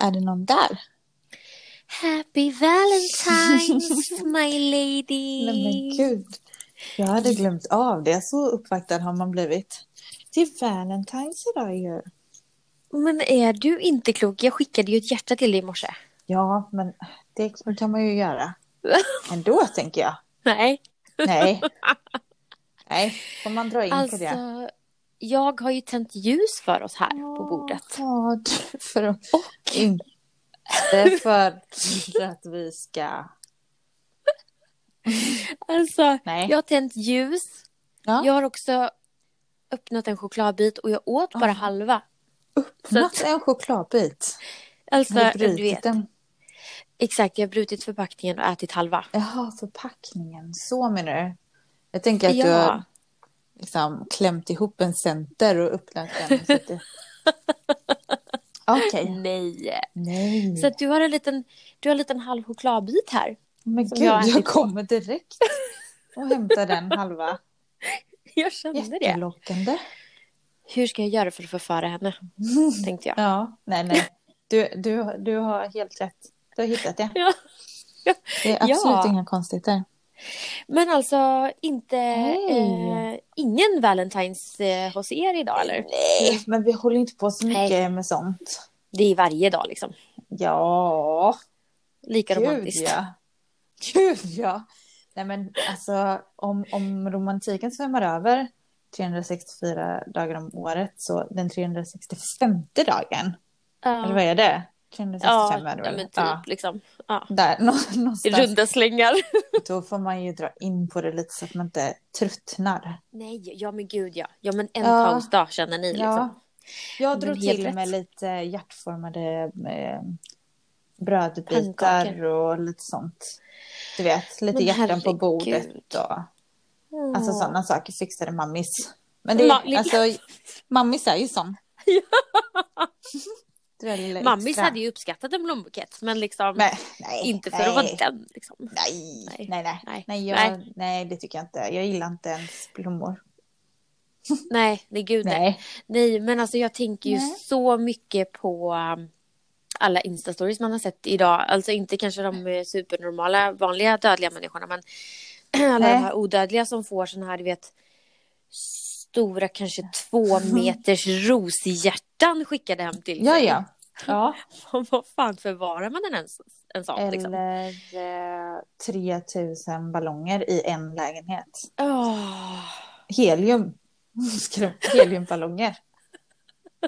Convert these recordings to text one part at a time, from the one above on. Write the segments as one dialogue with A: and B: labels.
A: är det någon där?
B: Happy Valentine's my lady.
A: Nej, men gud. Jag hade glömt av det. Så uppvaktad har man blivit. Det är Valentine's idag ju.
B: Men är du inte klok? Jag skickade ju ett hjärta till dig i morse.
A: Ja, men det kan man ju göra. Ändå tänker jag.
B: Nej.
A: Nej. Nej, får man dra in på det?
B: Alltså, jag har ju tänt ljus för oss här
A: Alltså,
B: på bordet.
A: Ja, det- för att...
B: Och-
A: Inte för att vi ska...
B: Alltså,
A: Nej.
B: jag har tänt ljus.
A: Ja.
B: Jag har också öppnat en chokladbit och jag åt bara
A: Ah.
B: halva.
A: Öppnat en chokladbit.
B: Alltså,
A: Har du
B: du
A: brutit
B: vet.
A: den?
B: Exakt, jag har brutit förpackningen och ätit halva.
A: Jaha, förpackningen. Så menar du? Jag tänker att du har liksom klämt ihop en center och öppnat den. så att det- Okej.
B: Nej.
A: Nej.
B: Så att du har en liten, du har en liten halv chokladbit här.
A: Men
B: som
A: gud,
B: jag har
A: jag,
B: ätit.
A: kommer direkt och hämtar den halva.
B: Jag kände det.
A: Jättelockande.
B: Hur ska jag göra för att förföra henne? Tänkte jag.
A: Ja, nej, nej. Du, du, du har helt rätt. Du har hittat det.
B: Ja.
A: Det är absolut
B: Ja.
A: inga konstigheter.
B: Men alltså inte
A: Nej.
B: eh, ingen Valentine's eh, hos er idag eller?
A: Nej, men vi håller inte på så mycket med sånt.
B: Det är varje dag liksom.
A: Ja,
B: Lika
A: gud
B: romantiskt.
A: ja. Gud ja. Nej men alltså om, om romantiken svämmar över 364 dagar om året så den 365 dagen,
B: Ja.
A: eller vad är det? 365
B: Ja,
A: är det
B: ja
A: väl?
B: men typ
A: Ja.
B: liksom. Ja.
A: Där, nå- någonstans.
B: Runda slängar.
A: Då får man ju dra in på det lite så att man inte tröttnar.
B: Nej, ja men gud ja. Ja men en
A: Ja.
B: pausdag känner ni liksom.
A: Ja. Jag
B: Men
A: drog
B: helt
A: till
B: rätt.
A: med lite hjärtformade eh, brödbitar
B: Pannkakor.
A: och lite sånt. Du vet, lite
B: Men
A: hjärtan på
B: herregud.
A: bordet och
B: Ja.
A: alltså sådana saker fixade mammis. Men det
B: Ma-
A: är, alltså, mammis är ju sån. Det där lilla
B: Mammis
A: extra.
B: hade ju uppskattat en blombukett men liksom
A: Men, nej,
B: inte för
A: nej,
B: att vara den liksom.
A: Nej,
B: Nej.
A: nej, nej.
B: Nej.
A: Nej, jag, nej, det tycker jag inte. Jag gillar inte ens blommor.
B: Nej, nej gud nej.
A: Nej.
B: Nej men alltså jag tänker ju
A: Nej.
B: så mycket på um, alla instastories man har sett idag. Alltså inte kanske de
A: Mm.
B: eh, supernormala vanliga dödliga människorna men alla
A: Nej.
B: de här odödliga som får såna här du vet stora kanske två meters roshjärtan skickade hem till
A: Ja,
B: sig.
A: ja. ja.
B: Vad fan förvarar man en, ens- en sån liksom?
A: Eller eh, 3000 ballonger i en lägenhet.
B: Åh,
A: Helium. Ska de- Heliumballonger.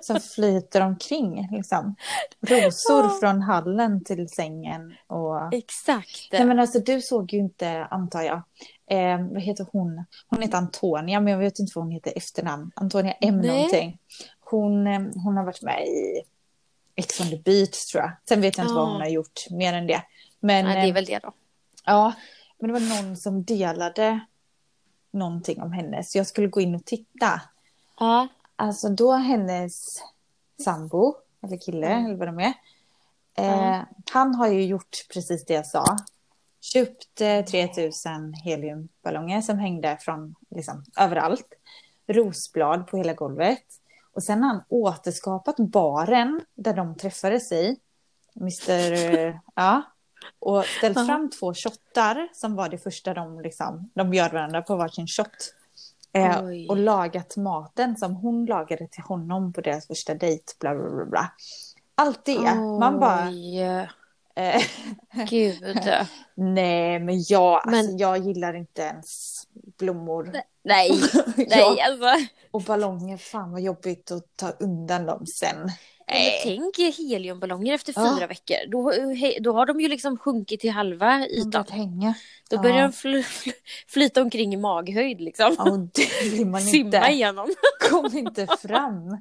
A: Som flyter omkring. Liksom. Rosor från hallen till sängen. Och...
B: exakt.
A: Nej, men alltså, du såg ju inte, antar jag. Eh, vad heter hon? Hon heter Antonia, men jag vet inte vad hon heter i efternamn. Antonia M.
B: Nej.
A: någonting. Hon, eh, hon har varit med i Ex on the beach, tror jag. Sen vet jag inte vad
B: Ja.
A: hon har gjort mer än det. Men,
B: Nej, det är
A: eh,
B: väl det då.
A: Ja, men det var någon som delade någonting om henne. Så jag skulle gå in och titta.
B: Ja.
A: Alltså då hennes sambo, eller kille,
B: Mm.
A: eller vad de är. Eh,
B: Ja.
A: Han har ju gjort precis det jag sa. Köpt eh, 3000 heliumballonger som hängde från liksom, överallt. Rosblad på hela golvet. Och sen har han återskapat baren där de träffades i. Mr... eh, ja. Och ställt
B: Ja.
A: fram två shottar som var det första de liksom, de bjöd varandra på varsin shot. Eh,
B: Oj.
A: och lagat maten som hon lagade till honom på deras första dejt. Bla, bla, bla, bla. Allt det. Man bara...
B: Oj,
A: Eh,
B: gud.
A: nej, men jag, alltså,
B: Men-
A: jag gillar inte ens blommor.
B: Nej, nej
A: Ja,
B: alltså.
A: och ballonger, fan vad jobbigt att ta undan dem sen.
B: Men
A: Nej.
B: tänk heliumballonger efter
A: Ja.
B: fyra veckor. Då, he- då har de ju liksom sjunkit till halva
A: Man
B: ytan.
A: börjar hänga.
B: Då
A: Ja.
B: börjar de fly- fly- flyta omkring i maghöjd liksom.
A: Ja, och det vill man
B: Simma
A: inte.
B: igenom.
A: Kom inte fram.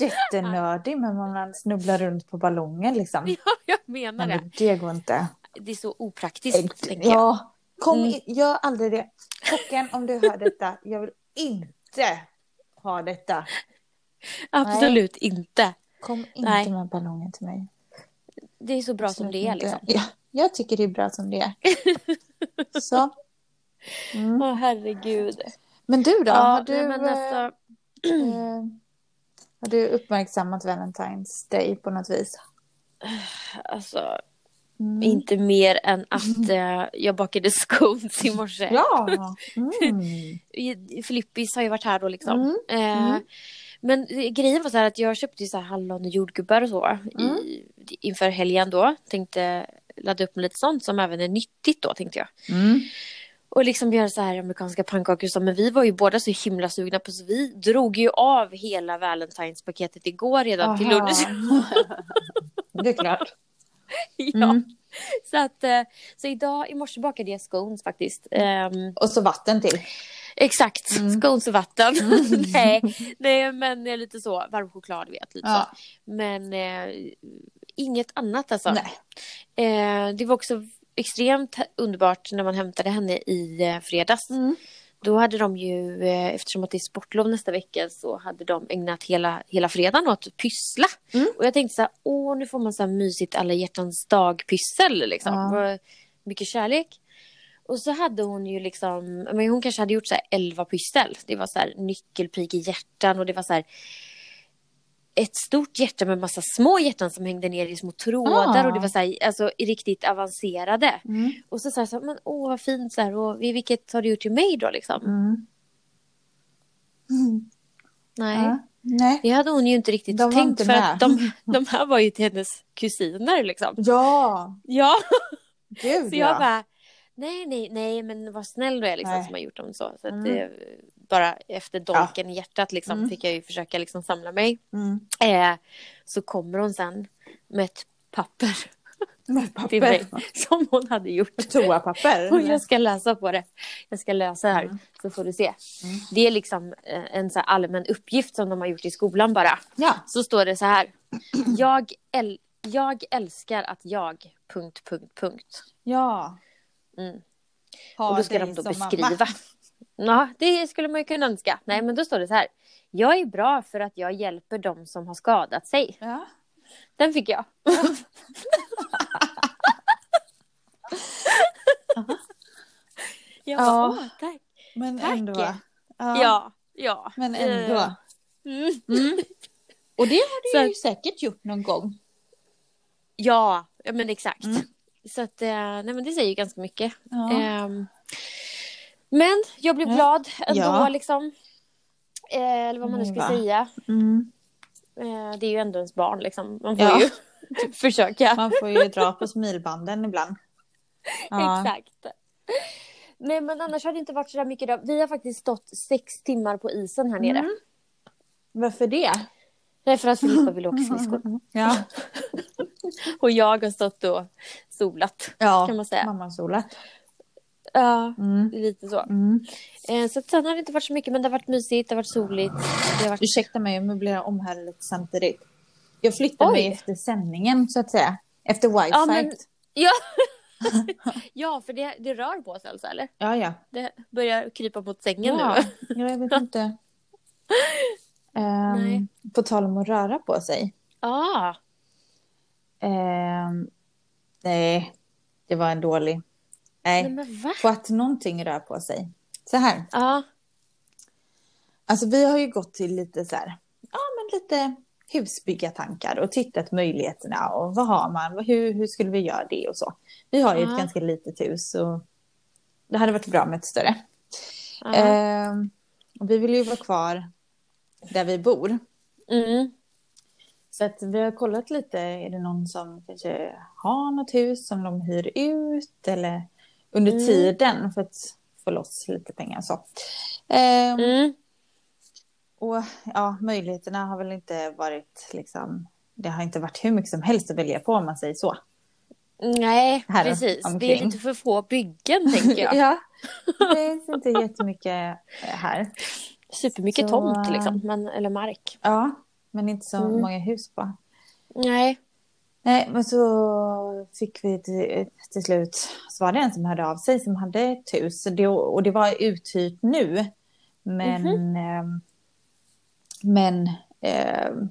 A: Jättenördig, men man snubblar runt på ballonger liksom.
B: Ja, jag menar
A: Nej,
B: det.
A: men det går inte.
B: Det är så opraktiskt, tänker jag.
A: Ja, kom
B: Mm.
A: i- gör aldrig det. Kocken, om du hör detta, jag vill inte ha detta.
B: Absolut inte.
A: Kom inte
B: Nej.
A: med ballonger till mig.
B: Det är så bra som
A: Absolut
B: det är
A: inte.
B: liksom.
A: Ja, jag tycker det är bra som det är. Så. Mm.
B: Åh herregud.
A: Men du då?
B: Ja,
A: har, du,
B: nej, men
A: eh,
B: alltså,
A: eh, har du uppmärksammat Valentine's Day på något vis?
B: Alltså,
A: Mm.
B: inte mer än att eh, jag bakade scones i morse.
A: Ja. Mm.
B: I- Filippis har ju varit här då liksom.
A: Mm,
B: Eh,
A: mm.
B: Men eh, grejen var så här att jag köpte ju så här hallon och jordgubbar och så
A: Mm.
B: i, inför helgen då. Tänkte ladda upp med lite sånt som även är nyttigt då tänkte jag.
A: Mm.
B: Och liksom göra så här amerikanska pannkakor och så. Men vi var ju båda så himla sugna på så vi drog ju av hela Valentine's-paketet igår redan till
A: Aha.
B: lunch.
A: Det är klart.
B: ja.
A: Mm.
B: så, att, eh, så idag i morse bakade jag scones faktiskt. Ehm,
A: Och så vatten till.
B: Exakt,
A: Mm.
B: scones och vatten. nej, nej, men eh, lite så varm choklad vet. Lite
A: Ja.
B: så. Men eh, inget annat alltså.
A: Nej.
B: Eh, det var också extremt underbart när man hämtade henne i eh, fredags.
A: Mm.
B: Då hade de ju, eh, eftersom att det är sportlov nästa vecka, så hade de ägnat hela, hela fredagen åt att pyssla.
A: Mm.
B: Och jag tänkte så här, åh nu får man så här mysigt alla hjärtans dag-pyssel liksom.
A: Ja.
B: Vad Mycket kärlek. Och så hade hon ju liksom, men hon kanske hade gjort så här 11 pyssel. Det var så här nyckelpik i hjärtan och det var så här ett stort hjärta med massa små hjärtan som hängde ner i små trådar
A: Ah.
B: och det var så här, alltså riktigt avancerade.
A: Mm.
B: Och så sa jag så här, men åh vad fint så här och vilket har du gjort till mig då liksom?
A: Mm.
B: Nej.
A: Ja. Nej.
B: Det hade hon ju inte riktigt
A: De var
B: tänkt
A: inte
B: för
A: med.
B: att de, de här var ju till hennes kusiner liksom.
A: Ja,
B: Ja,
A: gud
B: så jag
A: ja.
B: bara nej, nej, nej, men vad snäll du är liksom
A: Nej.
B: som har gjort dem så. så att,
A: Mm.
B: det, bara efter dolken i hjärtat liksom
A: Mm.
B: fick jag ju försöka liksom samla mig.
A: Mm.
B: Eh, så kommer hon sen med ett papper
A: Med
B: till mig
A: papper.
B: som hon hade gjort.
A: Toapapper.
B: Och jag ska läsa på det. Jag ska läsa här
A: Mm.
B: så får du se. Det är liksom eh, en så här allmän uppgift som de har gjort i skolan bara.
A: Ja.
B: Så står det så här. Jag, äl- jag älskar att jag... Punkt, punkt, punkt.
A: ja.
B: Mm.
A: Ha
B: och då ska
A: dig
B: de då
A: som
B: beskriva.
A: mamma.
B: Ja, det skulle man ju kunna önska.
A: Mm.
B: Nej, men då står det så här. Jag är bra för att jag hjälper dem som har skadat sig.
A: Ja.
B: Den fick jag. jag bara,
A: Ja.
B: Åh, tack.
A: Men
B: Tack.
A: ändå. Ja.
B: Ja, ja. Eh,
A: Men ändå.
B: Mm.
A: Mm. Och det har
B: Så
A: du ju säkert gjort någon gång.
B: Ja, ja, men exakt.
A: Mm.
B: Så att, eh, nej, men det säger ju ganska mycket.
A: Ja.
B: Ehm, men jag blev
A: Mm.
B: glad ändå,
A: Ja.
B: liksom. Eh, eller vad man nu
A: Mm,
B: ska
A: va.
B: säga.
A: Mm.
B: Eh, det är ju ändå ens barn, liksom. Man får
A: Ja.
B: ju typ försöka.
A: Man får ju dra på smilbanden ibland.
B: Exakt. Nej, men annars har det inte varit så där mycket. Då. Vi har faktiskt stått sex timmar på isen här nere.
A: Mm. Varför det?
B: Nej, för att Filippa vill åka skridskor.
A: Ja,
B: Och jag har stått och solat, kan
A: ja.
B: man säga.
A: mammasolat.
B: Ja,
A: Mm.
B: lite så.
A: Mm.
B: Eh, så att sen har det inte varit så mycket, men det har varit mysigt, det har varit soligt. Det har varit...
A: Ursäkta mig, jag möblerar om här lite samtidigt. Jag flyttade
B: Oj.
A: mig efter sändningen, så att säga. Efter wifi. Ja,
B: Ja, men- Ja, ja för det, det rör på sig alltså, eller?
A: ja, ja.
B: Det börjar krypa mot sängen
A: Ja,
B: nu.
A: ja, jag vet inte. Ehm,
B: Nej.
A: på tal om att röra på sig.
B: Ja,
A: Ehm, nej, det var en dålig.
B: nej
A: Nej,
B: men va?
A: på att någonting rör på sig. Så här,
B: Ja,
A: alltså vi har ju gått till lite så här, ja men lite husbyggartankar och tittat möjligheterna och vad har man, Vad- hur, hur skulle vi göra det och så. Vi har ju
B: Ja.
A: ett ganska litet hus och det hade varit bra med ett större.
B: ja.
A: Ehm, och vi vill ju vara kvar där vi bor.
B: Mm.
A: Så att vi har kollat lite, är det någon som kanske har något hus som de hyr ut eller under
B: Mm.
A: tiden för att få loss lite pengar så. Ehm,
B: Mm.
A: Och ja, möjligheterna har väl inte varit liksom, det har inte varit hur mycket som helst att välja på om man säger så.
B: Nej,
A: Här
B: precis. Det är
A: omkring.
B: lite för få byggen, tänker jag.
A: ja, det finns inte jättemycket eh, här. Så,
B: Supermycket tomt,
A: äh,
B: liksom. Men, eller mark.
A: Ja, men inte så
B: Mm.
A: många hus på.
B: Nej.
A: Nej, men så fick vi till, till slut, så var det en som hörde av sig som hade ett hus. Så Det, och det var uthyrt nu. Men, ehm, men ehm,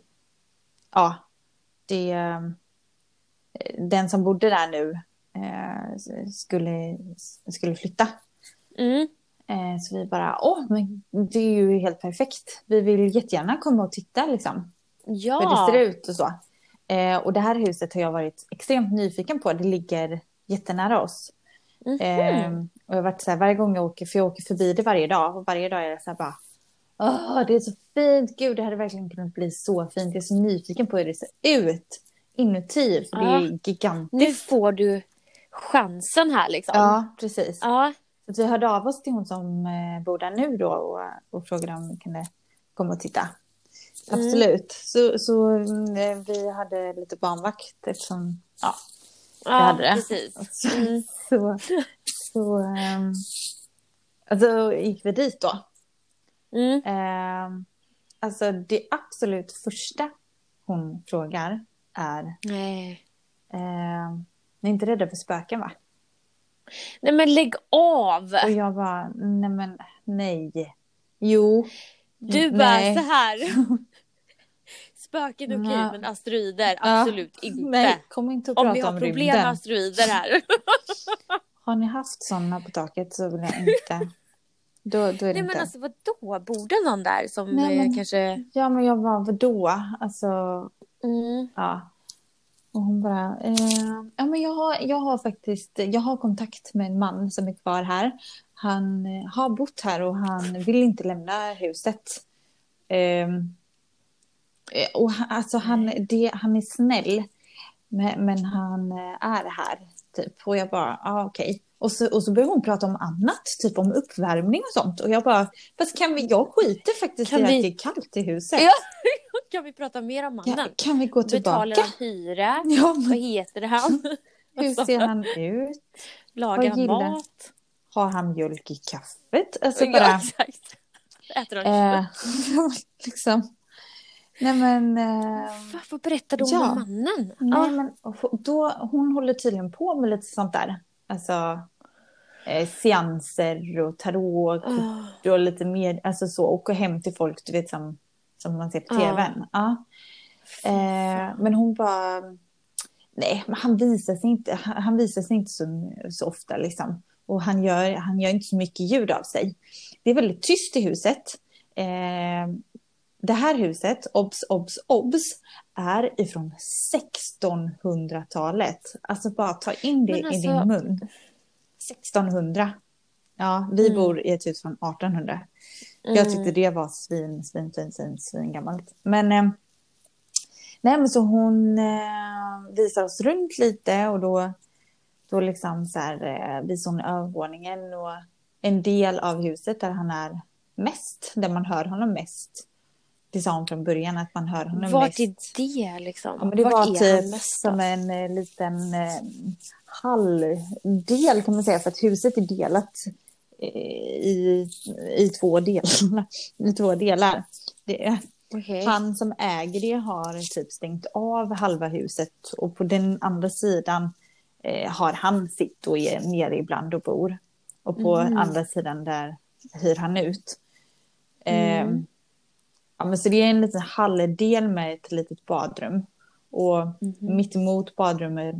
A: ja, det, ehm, den som bodde där nu eh, skulle, skulle flytta.
B: Mm.
A: Eh, så vi bara, åh, men det är ju helt perfekt. Vi vill jättegärna komma och titta liksom
B: Ja.
A: hur det ser ut och så. Eh, och det här huset har jag varit extremt nyfiken på. Det ligger jättenära oss.
B: Mhm.
A: Eh, och jag har varit så här varje gång jag åker, för jag åker förbi det varje dag. Och varje dag är det så här bara, åh det är så fint, gud det hade verkligen kunnat bli så fint. Jag är så nyfiken på hur det ser ut inuti, för det är gigantiskt.
B: Nu får du chansen här liksom.
A: Ja, precis.
B: Ja.
A: Så att vi hörde av oss till hon som eh, bor där nu då och, och frågade om vi kunde komma och titta.
B: Mm.
A: Absolut. Så, så mm, vi hade lite barnvakt eftersom, ja,
B: Ja,
A: hade det.
B: precis. Mm.
A: så, så, ehm, alltså, gick vi dit då.
B: Mm.
A: Ehm, alltså det absolut första hon frågar är,
B: Nej.
A: ehm, ni är inte rädda för spöken va?
B: Nej men lägg av!
A: Och jag bara, nej men nej. Jo,
B: Du
A: Mm,
B: bara
A: nej.
B: så här. Spöken okej
A: Ja.
B: men asteroider
A: Ja.
B: absolut inte.
A: nej, kom inte och
B: Om vi
A: prata
B: har
A: om
B: problem med
A: rymden.
B: asteroider här.
A: Har ni haft sådana på taket så vill jag inte. Då, då är det
B: Nej
A: inte.
B: men alltså vadå? Borde någon där som
A: Nej,
B: eh,
A: men-
B: kanske...
A: Ja men jag bara, vadå? Alltså,
B: Mm.
A: ja. Och hon bara, eh, ja men jag har, jag har faktiskt, jag har kontakt med en man som är kvar här. Han eh, har bott här och han vill inte lämna huset. Ehm, Eh, och han, alltså han, det, han är snäll, men, men han eh, är här. Typ. Och jag bara, ja ah, okej. Och så, och så började hon prata om annat, typ om uppvärmning och sånt. Och jag bara, fast kan vi, jag skiter faktiskt
B: Kan
A: i
B: vi-
A: att det är kallt i huset.
B: Ja, Kan vi prata mer om mannen?
A: Kan, kan vi gå tillbaka?
B: Betalar han hyra?
A: Ja, men
B: Vad heter han? Alltså.
A: hur ser han ut?
B: Lagar han
A: gillar-
B: mat?
A: Har han mjölk i kaffet? Alltså
B: Ja,
A: bara...
B: exakt. Äter han
A: Eh,
B: kött?
A: liksom. Nej men... Eh,
B: Varför berättar du om
A: ja.
B: mannen?
A: nej,
B: Ja.
A: men och då, hon håller tydligen på med lite sånt där. Alltså eh, seanser och tarotkort
B: Ah.
A: och lite mer, alltså så, och gå hem till folk du vet som, som man ser på
B: Ja.
A: tvn. Ja. Eh, men hon bara, nej, men han visar sig inte, han han visar sig inte så, så ofta liksom. Och han gör, han gör inte så mycket ljud av sig. Det är väldigt tyst i huset. Eh, det här huset, obs, obs, obs, är ifrån 1600-talet. Alltså bara ta in det
B: Men
A: i
B: alltså-
A: din mun. 1600. Ja, vi
B: Mm.
A: bor i ett hus från 1800. Jag tyckte det var svin, svin, svin, svin, svin gammalt. Men, eh, nej, men så hon eh, visar oss runt lite och då, då liksom så här, eh, visar hon övervåningen och en del av huset där han är mest, där man hör honom mest. Det sa hon från början att man hör honom mest.
B: Vart är det liksom?
A: Ja, men det
B: Vart
A: var
B: är
A: typ
B: han mest
A: som
B: då?
A: en eh, liten eh, halldel kan man säga, för att huset är delat eh, i, i, två, delar, i två delar. Det,
B: Okej.
A: han som äger det har typ stängt av halva huset och på den andra sidan eh, har han sitt och är nere ibland och bor. Och på
B: Mhm.
A: andra sidan där hyr han ut. Eh,
B: Mm.
A: ja, men så det är en liten halldel med ett litet badrum. Och
B: Mhm.
A: mitt emot badrummet,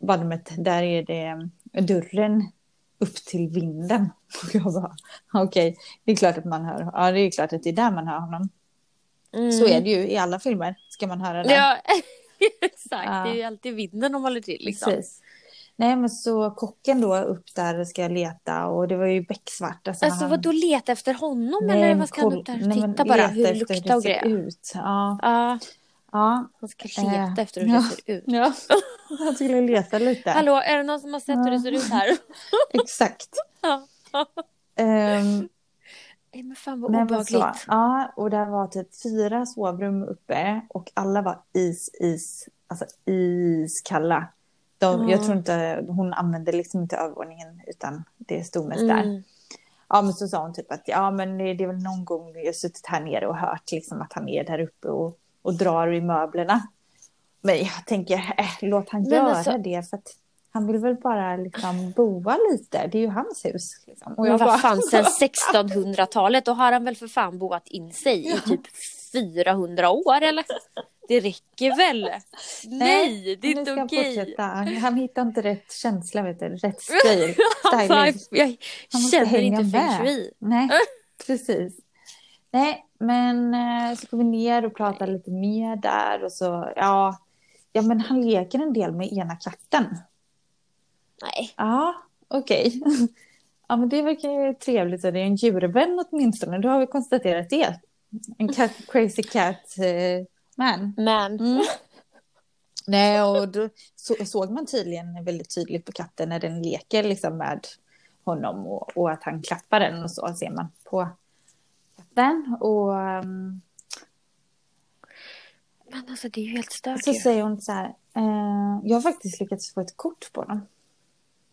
A: badrummet där är det dörren upp till vinden. Och jag bara, okej, det är klart att man hör, ja det är klart att det är där man hör honom.
B: Mm.
A: Så är det ju i alla filmer, ska man höra det.
B: Ja, exakt.
A: Ja.
B: Det är ju alltid vinden de håller till. Liksom.
A: Precis. Nej men så kocken då upp där ska jag leta och det var ju becksvart. Alltså,
B: Alltså
A: han-
B: vad då leta efter honom
A: Nej,
B: eller
A: men
B: vad ska han
A: koll-
B: upp där och
A: nej, men
B: titta bara?
A: leta
B: Hur det
A: efter
B: luktar och
A: ser
B: grejer.
A: Ut. Ja,
B: Ja,
A: ja.
B: han ska
A: Eh,
B: leta efter hur
A: ja.
B: det ser ut.
A: ja. jag skulle leta lite.
B: Hallå, är det någon som har sett hur det ser ut här?
A: Exakt.
B: Ja.
A: Ehm,
B: Nej men fan vad
A: Nej, men så.
B: obehagligt.
A: Ja, och där var typ fyra sovrum uppe och alla var is, is, alltså iskalla. De,
B: Ja.
A: Jag tror inte, hon använde liksom inte övervåningen utan det stod mest där.
B: Mm.
A: Ja, men så sa hon typ att ja, men det det är väl någon gång jag har suttit här nere och hört liksom att han är där uppe och, och drar i möblerna. Men jag tänker, äh, låt han
B: Men
A: göra
B: alltså-
A: det för att han vill väl bara liksom boa lite. Det är ju hans hus. Liksom. Och
B: Men
A: jag
B: vad
A: bara-
B: fan, sen 1600-talet då har han väl för fan boat in sig i typ 400 år eller? Det räcker väl? Nej, det är
A: nu
B: inte
A: ska han
B: okej.
A: fortsätta. Han hittar inte rätt känsla, vet du. rätt stil.
B: Han bara,
A: styling.
B: jag
A: Han måste
B: känner
A: hänga
B: inte feng
A: med.
B: shui.
A: Nej, precis. Nej, men eh, så kom vi ner och pratade lite mer där och så, ja, Ja, men han leker en del med ena katten.
B: Nej.
A: Ja, okej. Ja, men det verkar ju trevligt. och Det är en djurvän åtminstone. Då har vi konstaterat det. En cat, crazy cat eh, man.
B: Men
A: Mm. Nej, och då så, såg man tydligen väldigt tydligt på katten när den leker liksom med honom och, och att han klappar den och så ser man på katten. Och ehm,
B: Men alltså det är ju helt stört
A: så
B: ju.
A: säger hon så här, eh, jag har faktiskt lyckats få ett kort på dem.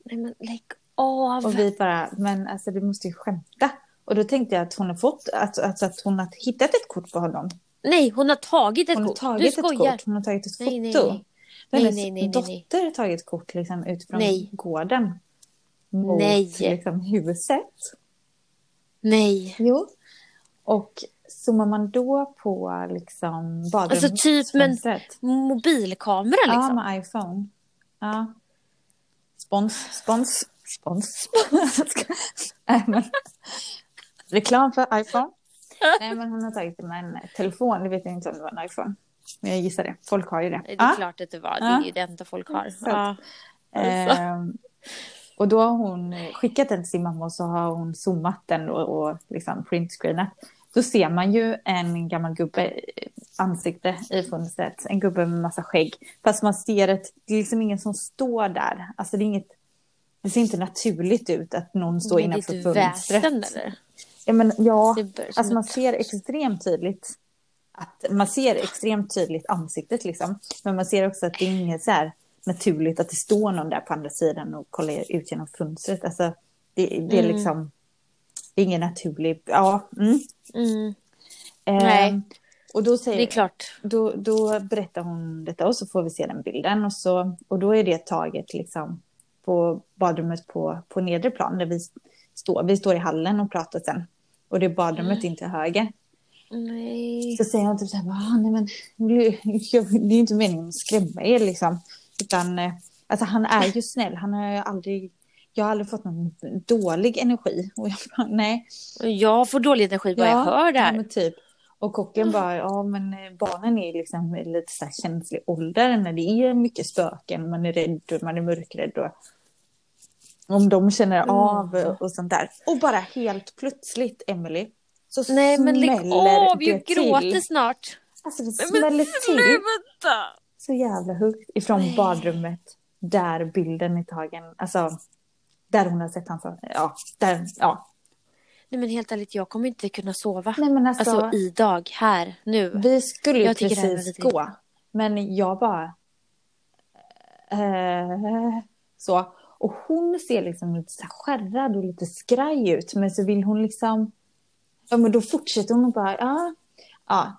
B: Nej men lägg av.
A: Och vi bara, men alltså du måste ju skämta. Och då tänkte jag att hon har fått, alltså, alltså att hon har hittat ett kort på honom.
B: Nej hon har tagit ett
A: Hon har
B: kort. Du
A: tagit ett
B: skojar.
A: kort, hon har tagit ett
B: Nej, nej,
A: foto.
B: nej.
A: Då har
B: Nej,
A: hennes
B: nej, nej, nej, nej.
A: dotter har tagit ett kort liksom, utifrån
B: Nej.
A: gården. Mot
B: Nej.
A: Liksom, huset.
B: Nej.
A: Jo. Och zoomar man då på liksom, badrumsfönstret.
B: Alltså, typ, men- Mobilkamera
A: Ja,
B: liksom.
A: med iPhone. Ja. Spons, spons, spons. Nej, men... Reklam för iPhone. Nej, men hon har tagit det med en telefon. Det vet jag inte om det var en iPhone. Men jag gissar det. Folk har ju det.
B: Det är
A: Ja.
B: klart att det var. Det
A: Ja.
B: är ju det enda folk har.
A: Exakt.
B: Ja. Alltså.
A: Ehm, och då har hon skickat den till sin mamma och så har hon zoomat den och, och liksom printscreenat. Då ser man ju en gammal gubbe eh, ansikte i fönstret, en gubbe med massa skägg. Fast man ser att det är liksom ingen som står där. Alltså det, är inget, det ser inte naturligt ut att någon står
B: Men
A: innanför
B: Det är ett väsen
A: fönstret.
B: eller?
A: Ja, men, ja.
B: Det bör- som
A: Alltså man
B: ett-
A: ser extremt tydligt att man ser extremt tydligt ansiktet liksom. Men man ser också att det är inget så här naturligt att det står någon där på andra sidan och kollar ut genom fönstret. Alltså det, det är
B: Mm.
A: liksom det är ingen naturlig, ja. Mm.
B: Mm.
A: Ehm,
B: Nej.
A: Och då
B: Det är
A: säger,
B: klart.
A: då, då berättar hon detta och så får vi se den bilden och, så, och då är det taget liksom på badrummet på, på nedre plan där vi står. Vi står i hallen och pratar sen och det är badrummet in till höger.
B: Nej.
A: Så säger hon typ så här, "Va, nej men nu- jag- det är ju inte meningen att skrämma er liksom. Utan eh, alltså han är ju snäll, han har ju aldrig, jag har aldrig fått någon dålig energi. Och jag bara, nej.
B: Jag får dålig energi bara jag hör det
A: ja,
B: här.
A: men typ. Och kocken bara, ja men eh, barnen är ju liksom i lite så här känslig ålder när det är mycket spöken, man är rädd och man är mörkrädd och om de känner av och- och sånt där. Och bara helt plötsligt, Emily så
B: Nej men lägg
A: smäller
B: av,
A: det
B: jag
A: till.
B: gråter snart.
A: Alltså det
B: Nej,
A: smäller till
B: Sluta!
A: så jävla högt ifrån
B: Nej.
A: badrummet där bilden är tagen. Alltså där hon har sett hans... Ja, där, ja.
B: Nej men helt ärligt, jag kommer inte kunna sova.
A: Nej men alltså,
B: Alltså idag, här, nu.
A: vi skulle ju
B: Jag tycker det här var
A: precis
B: lite-
A: gå. Men jag bara... Eh, så. Och hon ser liksom lite så här skärrad och lite skraj ut. Men så vill hon liksom... Ja men då fortsätter hon och bara... Ja, ja.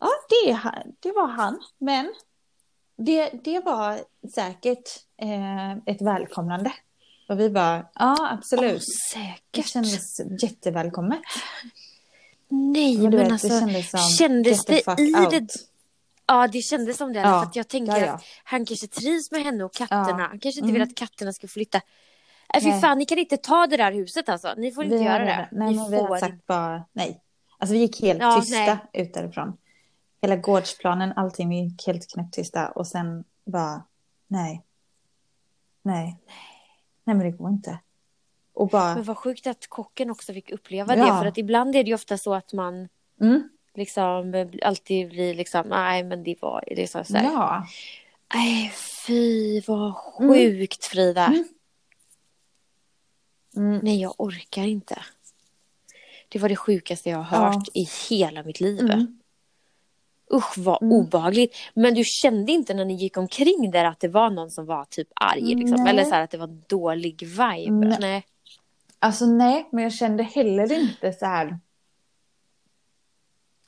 A: ja det, är han, det var han. Men det, det var säkert eh, ett välkomnande. Och vi bara... Ja absolut. Det
B: Säkert.
A: kändes jättevälkommet.
B: Nej
A: Men
B: men,
A: du vet,
B: alltså.
A: det kändes som...
B: kändes
A: get the
B: det
A: fuck
B: i
A: out.
B: det- Ja det kändes som det.
A: Ja,
B: För att jag tänker
A: ja, ja.
B: att han kanske trivs med henne och katterna.
A: Ja.
B: Han kanske inte
A: Mm.
B: vill att katterna ska flytta. Nej fy
A: Nej.
B: fan ni kan inte ta det där huset alltså. Ni får inte
A: Vi har
B: göra det.
A: redan- Nej,
B: ni
A: men vi
B: får
A: har sagt bara nej. Alltså vi gick helt
B: Ja,
A: tysta ut därifrån. Hela gårdsplanen, allting, vi gick helt knäpptysta och sen bara nej. Nej. Nej, men det går inte. Och
B: Men
A: bara,
B: vad sjukt att kocken också fick uppleva det.
A: Ja.
B: För att ibland är det ju ofta så att man
A: mm,
B: liksom eh, alltid blir liksom, nej men det var, det är så så här.
A: ja.
B: Nej fy vad sjukt Frida.
A: Mm. Mm,
B: Nej jag orkar inte. Det var det sjukaste jag har
A: Ja.
B: hört i hela mitt liv.
A: mm.
B: Usch vad obehagligt. Men du kände inte när ni gick omkring där att det var någon som var typ arg? Liksom.
A: Nej.
B: Eller så här att det var en dålig vibe?
A: Nej.
B: Nej.
A: Alltså nej, men jag kände heller inte så här.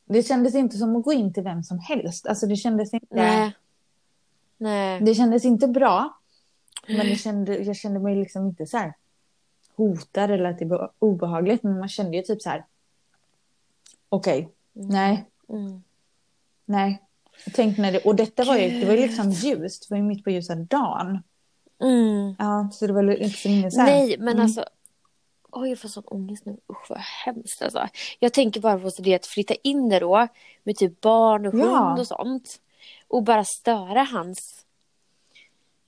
A: Det kändes inte som att gå in till vem som helst. Alltså det kändes inte.
B: Nej. Nej.
A: Det kändes inte bra. Men det kände, jag kände mig liksom inte så här hotad eller att det var obehagligt. Men man kände ju typ så här. Okej, nej,
B: Mm.
A: nej. Tänk när det, och detta var ju, det var ju liksom ljust. Det var ju mitt på ljusa dagen.
B: Mm.
A: Ja, så det var liksom ingen så här.
B: Nej men
A: Mm.
B: alltså. Oj jag får sån ångest nu. Usch vad hemskt alltså. Jag tänker bara på så det att flytta in där då. Med typ barn och
A: Ja.
B: hund och sånt. och bara störa hans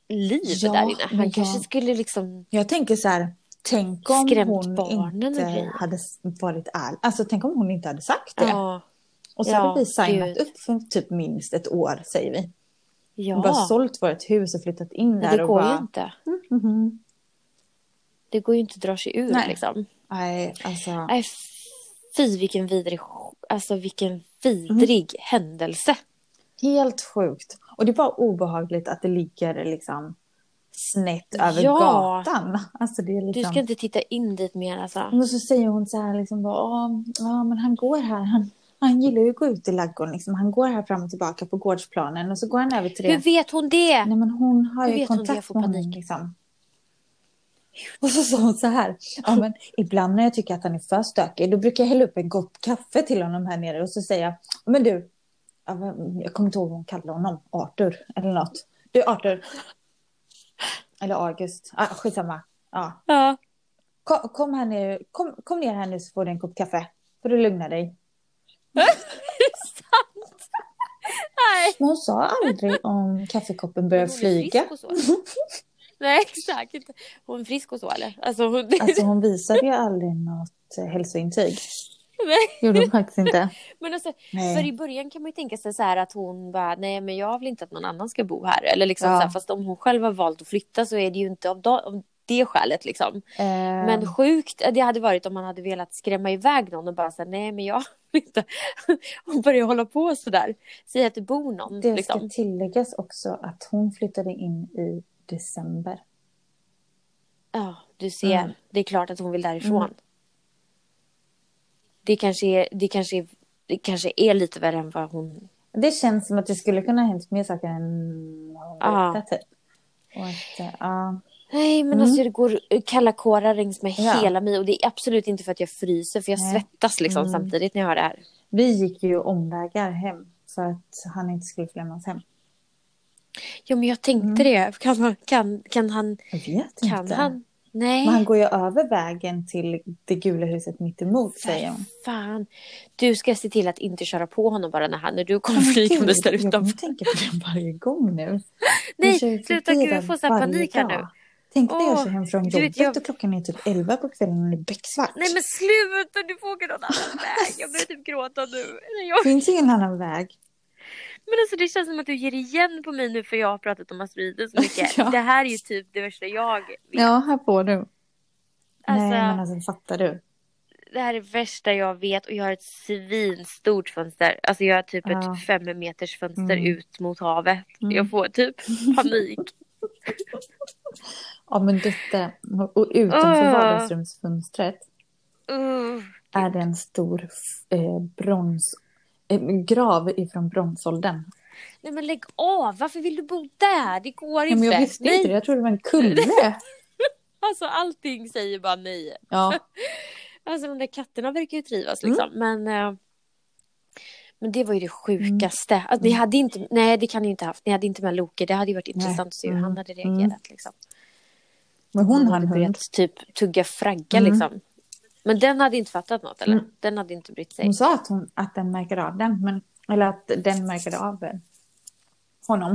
B: liv
A: Ja,
B: där inne. Han
A: men
B: kanske
A: jag-
B: skulle liksom...
A: Jag tänker så här, tänk om
B: Skrämt
A: hon
B: barnen och
A: inte
B: grejer.
A: hade varit ärlig. Alltså tänk om hon inte hade sagt det.
B: Ja,
A: och så
B: ja,
A: hade vi signat
B: gud.
A: upp för typ minst ett år säger vi.
B: ja.
A: Ja. Bara sålt vårt hus och flyttat in
B: Men
A: där
B: det
A: och
B: går ju
A: bara...
B: inte.
A: Mhm.
B: Det går ju inte att dra sig ur
A: Nej.
B: liksom.
A: Nej, alltså.
B: Nej, fy vilken vidrig, alltså vilken vidrig
A: Mm.
B: händelse.
A: Helt sjukt. Och det är bara obehagligt att det ligger liksom snett över
B: Ja.
A: gatan. Alltså det är
B: Du
A: liksom...
B: ska inte titta in dit mer alltså.
A: Och så säger hon så här liksom bara, "Ja, ja men han går här. Han, han gillar ju att gå ut i laggården liksom. Han går här fram och tillbaka på gårdsplanen och så går han över till
B: Hur
A: det.
B: vet hon det?
A: Nej men hon har
B: hur
A: ju
B: vet hon det? Jag
A: kontakt
B: får
A: med honom
B: panik.
A: liksom. Och så sa hon så här, ja men ibland när jag tycker att han är för stökig då brukar jag hälla upp en kopp kaffe till honom här nere och så säger jag, men du, ja, men jag kommer inte ihåg vad hon kallade honom, Arthur eller något. Du Arthur. Eller August, ah, skitsamma. Ja,
B: Ja.
A: Kom, kom, här nu. Kom, kom ner här nu så får du en kopp kaffe. För att lugna dig.
B: Nej.
A: Men hon sa aldrig om kaffekoppen börjar
B: Hon är frisk
A: flyga.
B: och så. Nej, exakt. inte. Hon är frisk och så eller? Alltså hon...
A: Alltså hon visade ju aldrig något eh, hälsointyg.
B: Nej.
A: Gjorde hon faktiskt inte.
B: Men alltså,
A: Nej.
B: för i början kan man ju tänka sig så här att hon bara, nej men jag vill inte att någon annan ska bo här. Eller liksom
A: Ja.
B: så här, fast om hon själv har valt att flytta så är det ju inte av, da- av det skälet liksom.
A: Eh,
B: Men sjukt det hade varit om man hade velat skrämma iväg någon och bara säga nej men jag vill inte. Och börja hålla på sådär. Säga att det bor någon
A: det ska
B: liksom.
A: tilläggas också att hon flyttade in i december.
B: Ja, du ser.
A: Mm.
B: Det är klart att hon vill därifrån. Det kanske är, det kanske är, det kanske är lite värre än vad hon...
A: Det känns som att det skulle kunna ha hänt mer saker än vad hon
B: Ja.
A: berättar typ. Och att, eh, ja.
B: Nej men
A: Mm.
B: alltså det går kalla kårar längs med
A: Ja.
B: hela mig. Och det är absolut inte för att jag fryser för jag
A: Nej.
B: svettas liksom
A: Mm.
B: samtidigt när jag hör det här.
A: Vi gick ju omvägar hem för att han inte skulle få lämnas hem.
B: Ja men jag tänkte det. Kan, han- kan, kan han...
A: Jag vet
B: Kan
A: Mm. inte.
B: han? Nej.
A: Men han går ju över vägen till det gula huset mitt emot säger hon.
B: Fan. Du ska se till att inte köra på honom bara när, han, när du kommer flygandes där
A: Oh Jag kommer
B: utanför.
A: tänka på det varje gång nu.
B: Nej,
A: Jag kör ju
B: sluta,
A: förbi
B: gud, jag
A: den
B: får så här
A: varje
B: panik här
A: dag.
B: nu.
A: Tänk när jag
B: Åh,
A: kör hem från
B: du
A: jobbet
B: vet, jag-
A: och klockan är typ 11 på kvällen och det är becksvart.
B: Nej men sluta, du får åka någon annan väg. Jag börjar typ gråta nu. Nej, Jag...
A: Det finns ingen annan väg.
B: Men alltså det känns som att du ger igen på mig nu för jag har pratat om asteroider så mycket.
A: Ja.
B: Det här är ju typ det värsta jag vet.
A: Ja, här får du.
B: Alltså,
A: Nej, men alltså fattar du?
B: Det här är det värsta jag vet och jag har ett svinstort fönster. Alltså jag har typ
A: Ja.
B: ett fem meters fönster
A: Mm.
B: ut mot havet.
A: Mm.
B: Jag får typ panik.
A: Ja, men detta och utanför
B: Åh.
A: vardagsrumsfönstret
B: Uh.
A: är det en stor eh, brons, eh, grav ifrån bronsåldern.
B: Nej men lägg av, varför vill du bo där? Det går
A: Ja,
B: inte.
A: men jag visste
B: nej.
A: inte det, jag trodde det var en kulle.
B: Alltså allting säger bara nej.
A: Ja,
B: Alltså de där katterna verkar ju trivas liksom.
A: Mm.
B: Men, eh, men det var ju det sjukaste. Alltså, ni
A: Mm.
B: hade inte, nej det kan ni inte haft. Ni hade inte med Loke. Det hade ju varit intressant att se hur
A: Mm.
B: han hade
A: Mm.
B: reagerat. Liksom.
A: men hon har
B: hade
A: en hund.
B: börjat typ tugga fragga
A: Mm.
B: liksom. Men den hade inte fattat något eller?
A: Mm.
B: Den hade inte brytt sig.
A: Hon sa att, hon, att den märker av den, men, eller att den märkade av eh, honom.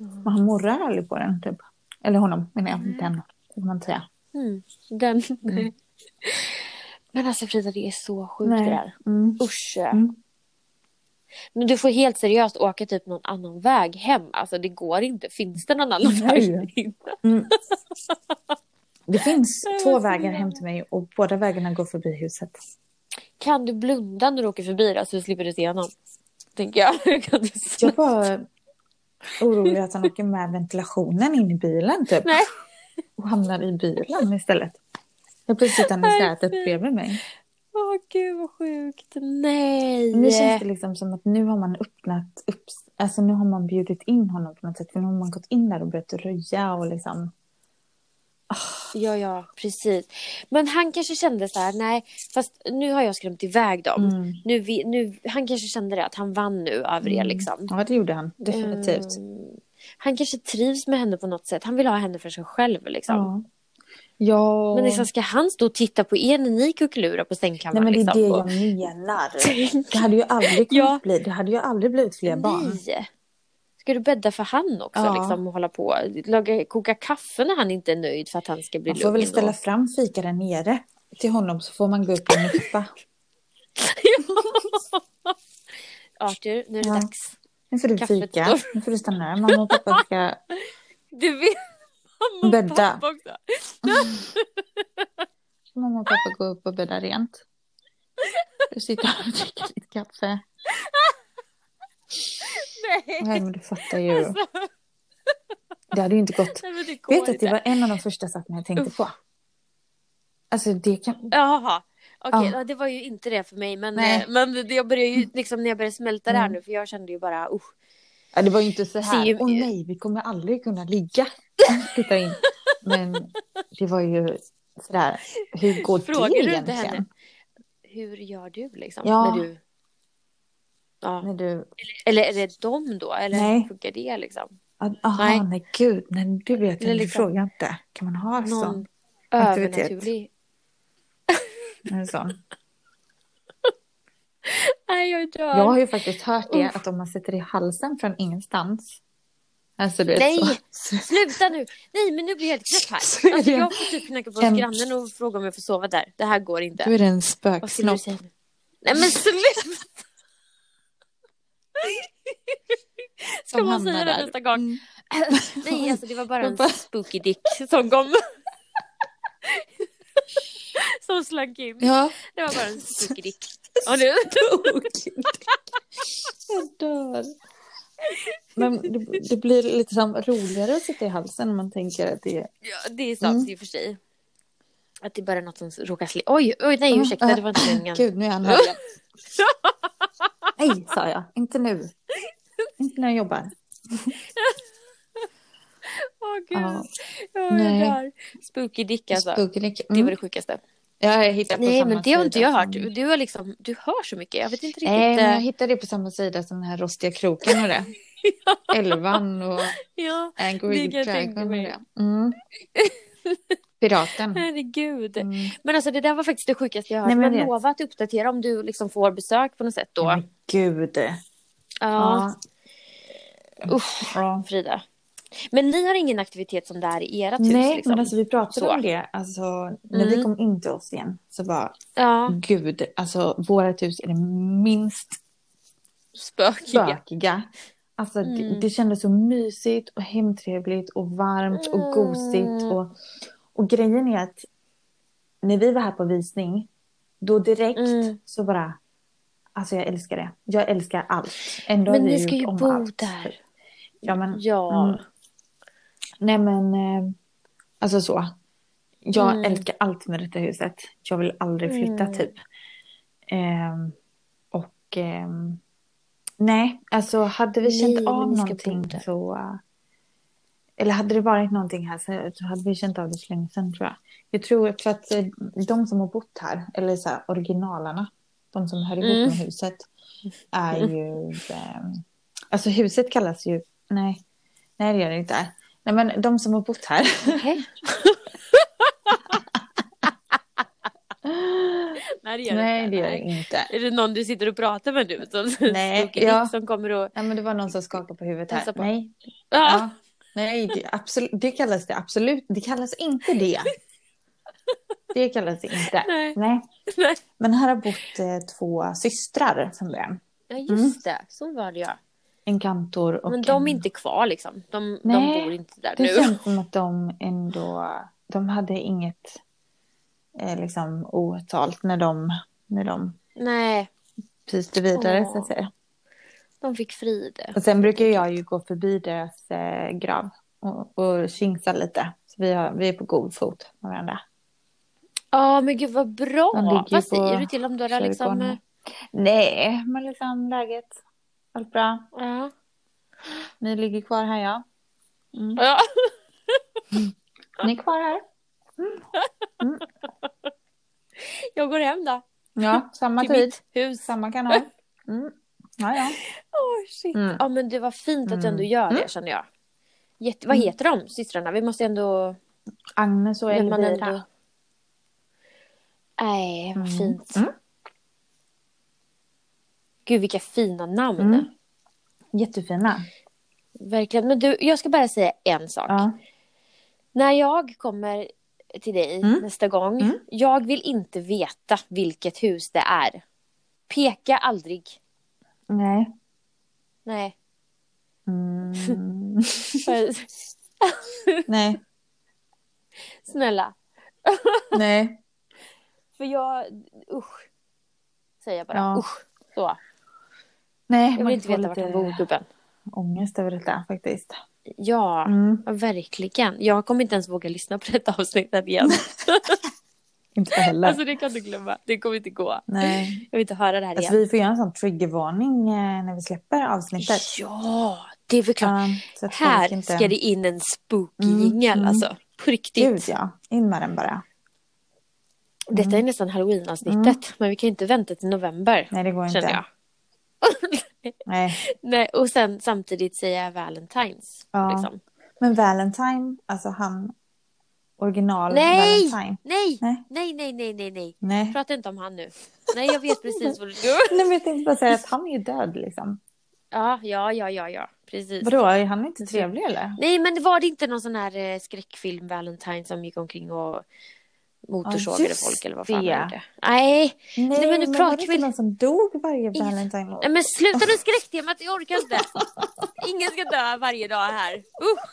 B: Mm.
A: Men han morrar aldrig på den, typ. Eller honom, menar jag. Den, får man säga.
B: Mm. Den.
A: Mm.
B: Men alltså Frida det är så sjukt det där.
A: Mm.
B: Usch.
A: Mm.
B: Men du får helt seriöst åka typ någon annan väg hem. Alltså det går inte. Finns det någon annan
A: Nej.
B: väg? in?
A: Mm. Det finns
B: Jag
A: två
B: måste
A: vägar
B: gå.
A: hem till mig och båda vägarna går förbi huset.
B: Kan du blunda när du åker förbi då, så slipper du se honom? Tänker jag. Kan du
A: Jag är
B: sn-
A: bara orolig att han åker med ventilationen in i bilen typ.
B: Nej.
A: Och hamnar i bilen istället. Jag blir sittande i
B: Nej,
A: sätet
B: fy.
A: bredvid mig.
B: Åh gud vad sjukt. Nej.
A: Nu känns det liksom som att nu har man öppnat upp, alltså nu har man bjudit in honom på något sätt. För nu har man gått in där och börjat röja och liksom.
B: Ja, ja, precis. Men han kanske kände så här, nej, fast nu har jag skrämt iväg dem.
A: Mm.
B: Nu, vi, nu, han kanske kände det, att han vann nu över er liksom.
A: Ja, det gjorde han. Mm. Definitivt.
B: Mm. Han kanske trivs med henne på något sätt. Han vill ha henne för sig själv liksom.
A: Ja. ja.
B: Men liksom, ska han stå och titta på er när ni kuckelurar på
A: Nej,
B: sängkammaren?
A: men det är
B: liksom,
A: det jag
B: och-
A: menar.
B: Tänk-
A: Det hade ju aldrig kunnat
B: Ja.
A: bli, det hade ju aldrig blivit fler barn.
B: Nej. Ska du bädda för han också
A: Ja.
B: liksom, och hålla på? Laga, koka kaffe när han inte är nöjd för att han ska bli
A: Man
B: lugn.
A: får väl
B: och-
A: ställa fram fika där nere till honom så får man gå upp och nippa.
B: Arthur, nu är det
A: Ja.
B: dags.
A: Nu får du
B: Kaffet
A: fika. Nu får du stanna här. Mamma och pappa ska...
B: Du vet, mamma och
A: Bädda.
B: pappa också.
A: Mamma och pappa gå upp och bädda rent. Du sitter här och dricker ditt kaffe.
B: Nej,
A: Nej men du fattar ju.
B: alltså,
A: Det hade ju inte gått.
B: nej, men det går
A: Vet att
B: inte.
A: det var en av de första sakerna jag tänkte på. Alltså det kan...
B: Jaha. Okej,
A: Ja.
B: ja. det var ju inte det för mig. Men,
A: Nej.
B: eh, men det- jag började ju liksom när jag började smälta det här
A: Mm.
B: nu för jag kände ju bara usch.
A: Ja, det var ju inte så
B: Ser ju-
A: här. Åh nej, vi kommer aldrig kunna ligga. Titta in. Men det var ju sådär. Hur går
B: Frågar
A: det
B: du inte
A: egentligen?
B: henne? Hur gör du liksom?
A: Ja.
B: När du... Ja.
A: När du...
B: Eller är det dem då? Eller
A: Nej.
B: hur funkar det liksom?
A: Ah, Aha, nej.
B: Nej.
A: gud. Nej, du vet
B: Eller
A: inte. Du
B: liksom-
A: frågar inte. Kan man ha
B: Någon
A: sån? aktivitet.
B: övernaturlig?
A: En sån?
B: Nej, jag dör.
A: Jag har ju faktiskt hört det
B: Uff.
A: att om man sätter i halsen från ingenstans. Alltså du vet
B: Nej,
A: så.
B: sluta nu! Nej, men nu blir jag helt knäpp
A: Så är
B: här. Alltså,
A: det.
B: jag får typ knacka på
A: En-
B: hos grannen och fråga om jag får sova där. Det här går inte.
A: Du är det en
B: Vad skulle du
A: spöksnopp.
B: säga nu? Nej, men sluta! Ska
A: Som
B: man
A: hamnar
B: säga det
A: där.
B: nästa gång?
A: Mm.
B: Nej, alltså det var bara
A: Jag
B: en
A: bara-
B: spooky dick som kom. som slank in.
A: Ja.
B: Det var bara en spooky dick. Och nu...
A: Jag dör. Men det, det blir lite som roligare att sitta i halsen om man tänker att det är...
B: Ja, det är sant
A: Mm.
B: i och för sig. Att det bara är något som råkar sli... Oj, oj, nej,
A: Ja,
B: ursäkta,
A: äh,
B: det var inte meningen.
A: Gud, nu är han här igen. Nej, sa jag. Inte nu. Inte när jag jobbar.
B: Åh gud.
A: Ja.
B: Ja, jag
A: Nej.
B: dör. Spooky dick alltså.
A: Spookelik.
B: Det var
A: Mm.
B: det sjukaste.
A: Ja, jag hittade på
B: Nej
A: samma
B: men det har inte
A: sida
B: jag hört.
A: som-
B: Du, har liksom, du hör så mycket. Jag vet inte riktigt.
A: Nej, men
B: eh,
A: jag hittade det på samma sida som den här rostiga kroken och det. Elvan och
B: Ja,
A: Angry
B: Det kan jag
A: Dragon
B: tänka
A: och
B: mig.
A: det. Mm. Piraten.
B: herregud.
A: Mm.
B: Men alltså det där var faktiskt det sjukaste jag har
A: Nej,
B: hört.
A: men jag
B: Men,
A: vet. Mm.
B: lova att uppdatera om du liksom får besök på något sätt då.
A: Ja,
B: Ja.
A: men gud. Ja.
B: Eh, Usch,
A: ja.
B: Frida. Men ni har ingen aktivitet som det här i ert hus?
A: Nej,
B: Liksom.
A: men alltså vi pratade
B: Så.
A: om det. Alltså, när vi
B: Mm.
A: kom in till oss igen så bara,
B: Ja,
A: gud, alltså vårt hus är det minst
B: spökiga.
A: bökiga. Alltså det,
B: Mm.
A: det kändes så mysigt och hemtrevligt och varmt och gosigt.
B: Mm.
A: Och, och grejen är att när vi var här på visning, då direkt
B: Mm.
A: så bara, alltså jag älskar det. Jag älskar allt. Ändå har
B: Men
A: vi
B: ni ska
A: gjort
B: ju
A: om
B: bo
A: allt.
B: där.
A: Ja, men
B: Ja.
A: Mm. Nej men, eh, alltså så. Jag
B: Mm.
A: älskar allt med detta huset. Jag vill aldrig flytta
B: Mm.
A: typ. Ehm, och ehm, nej, alltså hade vi
B: Nej,
A: känt
B: men
A: av
B: ni typ ska
A: någonting
B: bo där.
A: så. eh, Eller hade det varit någonting här så, så hade vi känt av det för länge sedan tror jag. Jag tror för att eh, de som har bott här, eller så här, originalarna, de som hör ihop
B: Mm.
A: med huset, är ju... ehm, alltså huset kallas ju... Nej, nej det gör det inte. Nej men de som har bott här.
B: Okej. Nej, det gör
A: nej
B: inte.
A: det gör det inte.
B: Är det någon du sitter och pratar med nu? Som,
A: Nej,
B: spooky
A: ja.
B: dick som kommer och...
A: Nej men det var någon som skakade på huvudet här.
B: Hälsa på.
A: Nej,
B: Ah,
A: ja. nej det, absolut, det kallas det absolut. Det kallas inte det. Det kallas det inte.
B: Nej.
A: Nej.
B: nej.
A: Men här har bott eh, två systrar från början.
B: Ja, just
A: Mm.
B: det. Så var det ja.
A: En kantor och
B: Men de
A: en...
B: är inte kvar liksom. De,
A: Nej,
B: de bor inte där
A: Det
B: nu.
A: känns som att de ändå, de hade inget eh, liksom otalt när de, när de
B: Nej,
A: pyste vidare
B: Åh.
A: så att säga.
B: de fick fride.
A: Och sen brukar jag ju gå förbi deras eh, grav och, och tjingsa lite. Så vi, har, vi är på god fot med varandra.
B: Ja, men gud vad bra.
A: De ligger ju
B: Vad
A: på
B: säger du till om du har liksom...
A: Kyrkogården. Nej, men liksom läget, allt bra.
B: eh, Ja.
A: Ni ligger kvar här ja. Mm.
B: ja.
A: Ni är kvar här.
B: Jag går hem då.
A: Ja, samma
B: Till
A: tid,
B: mitt hus.
A: samma kanal. Mm. Ja, ja.
B: Åh Oh, shit.
A: Mm.
B: Ja, men det var fint att du ändå
A: Mm.
B: gör det känner jag. Jätte... Vad
A: Mm.
B: heter de systrarna? Vi måste ändå...
A: Agnes och
B: att man
A: Elvira.
B: ändå- Nej, vad
A: Mm.
B: fint.
A: Mm.
B: Gud, vilka fina namn.
A: Mm. Jättefina.
B: verkligen. Men du, jag ska bara säga en sak.
A: Ja.
B: När jag kommer till dig
A: Mm.
B: nästa gång,
A: Mm.
B: jag vill inte veta vilket hus det är. Peka aldrig.
A: Nej.
B: Nej.
A: Mm. Nej.
B: Snälla.
A: Nej.
B: För jag, usch. Säger jag bara,
A: Ja.
B: usch. Så.
A: Nej.
B: Jag
A: man
B: vill inte
A: får
B: veta vart
A: lite
B: han bor, gubben.
A: Ångest över detta faktiskt.
B: Ja,
A: Mm.
B: ja, verkligen. Jag kommer inte ens våga lyssna på detta avsnittet igen.
A: Inte jag heller.
B: alltså det kan du glömma. Det kommer inte gå.
A: Nej.
B: Jag vill inte höra det här
A: Alltså,
B: igen.
A: vi får göra en sån triggervarning eh, när vi släpper avsnittet.
B: Ja, det är väl klart.
A: Um, så att
B: här
A: folk inte...
B: ska det in en spooky
A: Mm,
B: jingel
A: mm.
B: alltså. På riktigt.
A: Gud ja, in med den bara.
B: Detta är nästan halloween-avsnittet. Men vi kan ju inte vänta till november.
A: Nej det går inte.
B: känner jag.
A: Nej.
B: Nej, och sen samtidigt säga Valentines.
A: Ja.
B: Liksom.
A: Men Valentine, alltså han original
B: Nej!
A: Valentine.
B: Nej!
A: Nej.
B: nej, nej, nej, nej, nej.
A: Nej.
B: Prata inte om han nu. Nej, jag vet precis vad du gör.
A: Nej men jag tänkte bara säga att han är ju död liksom.
B: Ja, ja, ja, ja, ja. Precis.
A: Vadå, är han inte trevlig eller?
B: Nej, men var det inte någon sån här eh, skräckfilm, Valentine, som gick omkring och motorsågade
A: just
B: folk eller vad fan
A: det.
B: han gjorde? Nej,
A: Nej,
B: men nu
A: var
B: pratar
A: det
B: vi-
A: inte någon som dog varje
B: Ingen-
A: Valentine år?
B: nej, men sluta nu skräcktemat, jag orkar inte. Ingen ska dö varje dag här. Usch,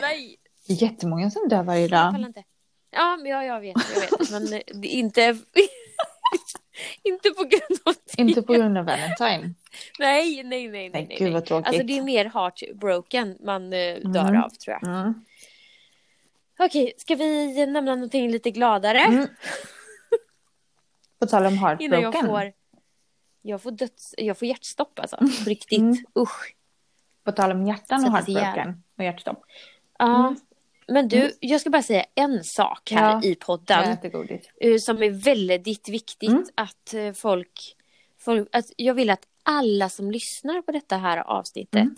B: nej.
A: Det är jättemånga som dör varje
B: Jag
A: dag.
B: pallar inte. Ja, men ja, jag vet, jag vet. Men eh, det är inte... inte på grund av det.
A: Inte på grund av Valentine.
B: Nej, nej, nej, nej.
A: Nej,
B: nej,
A: gud vad tråkigt.
B: Alltså det är mer heartbroken man eh, dör
A: Mm.
B: av tror jag.
A: Mm.
B: Okej, ska vi nämna någonting lite gladare?
A: Mm. På tal om
B: Innan
A: heartbroken.
B: jag får, jag får, döds, jag får hjärtstopp alltså. På riktigt.
A: Mm.
B: Usch.
A: På tal om hjärtan och
B: Sätta sig
A: heartbroken. Och hjärtstopp.
B: Ja.
A: Mm.
B: Men du, jag ska bara säga en sak här
A: Ja.
B: i
A: Jag
B: podden.
A: äter godis.
B: eh, Som är väldigt viktigt
A: Mm.
B: att eh, folk, folk att jag vill att alla som lyssnar på detta här avsnittet
A: Mm.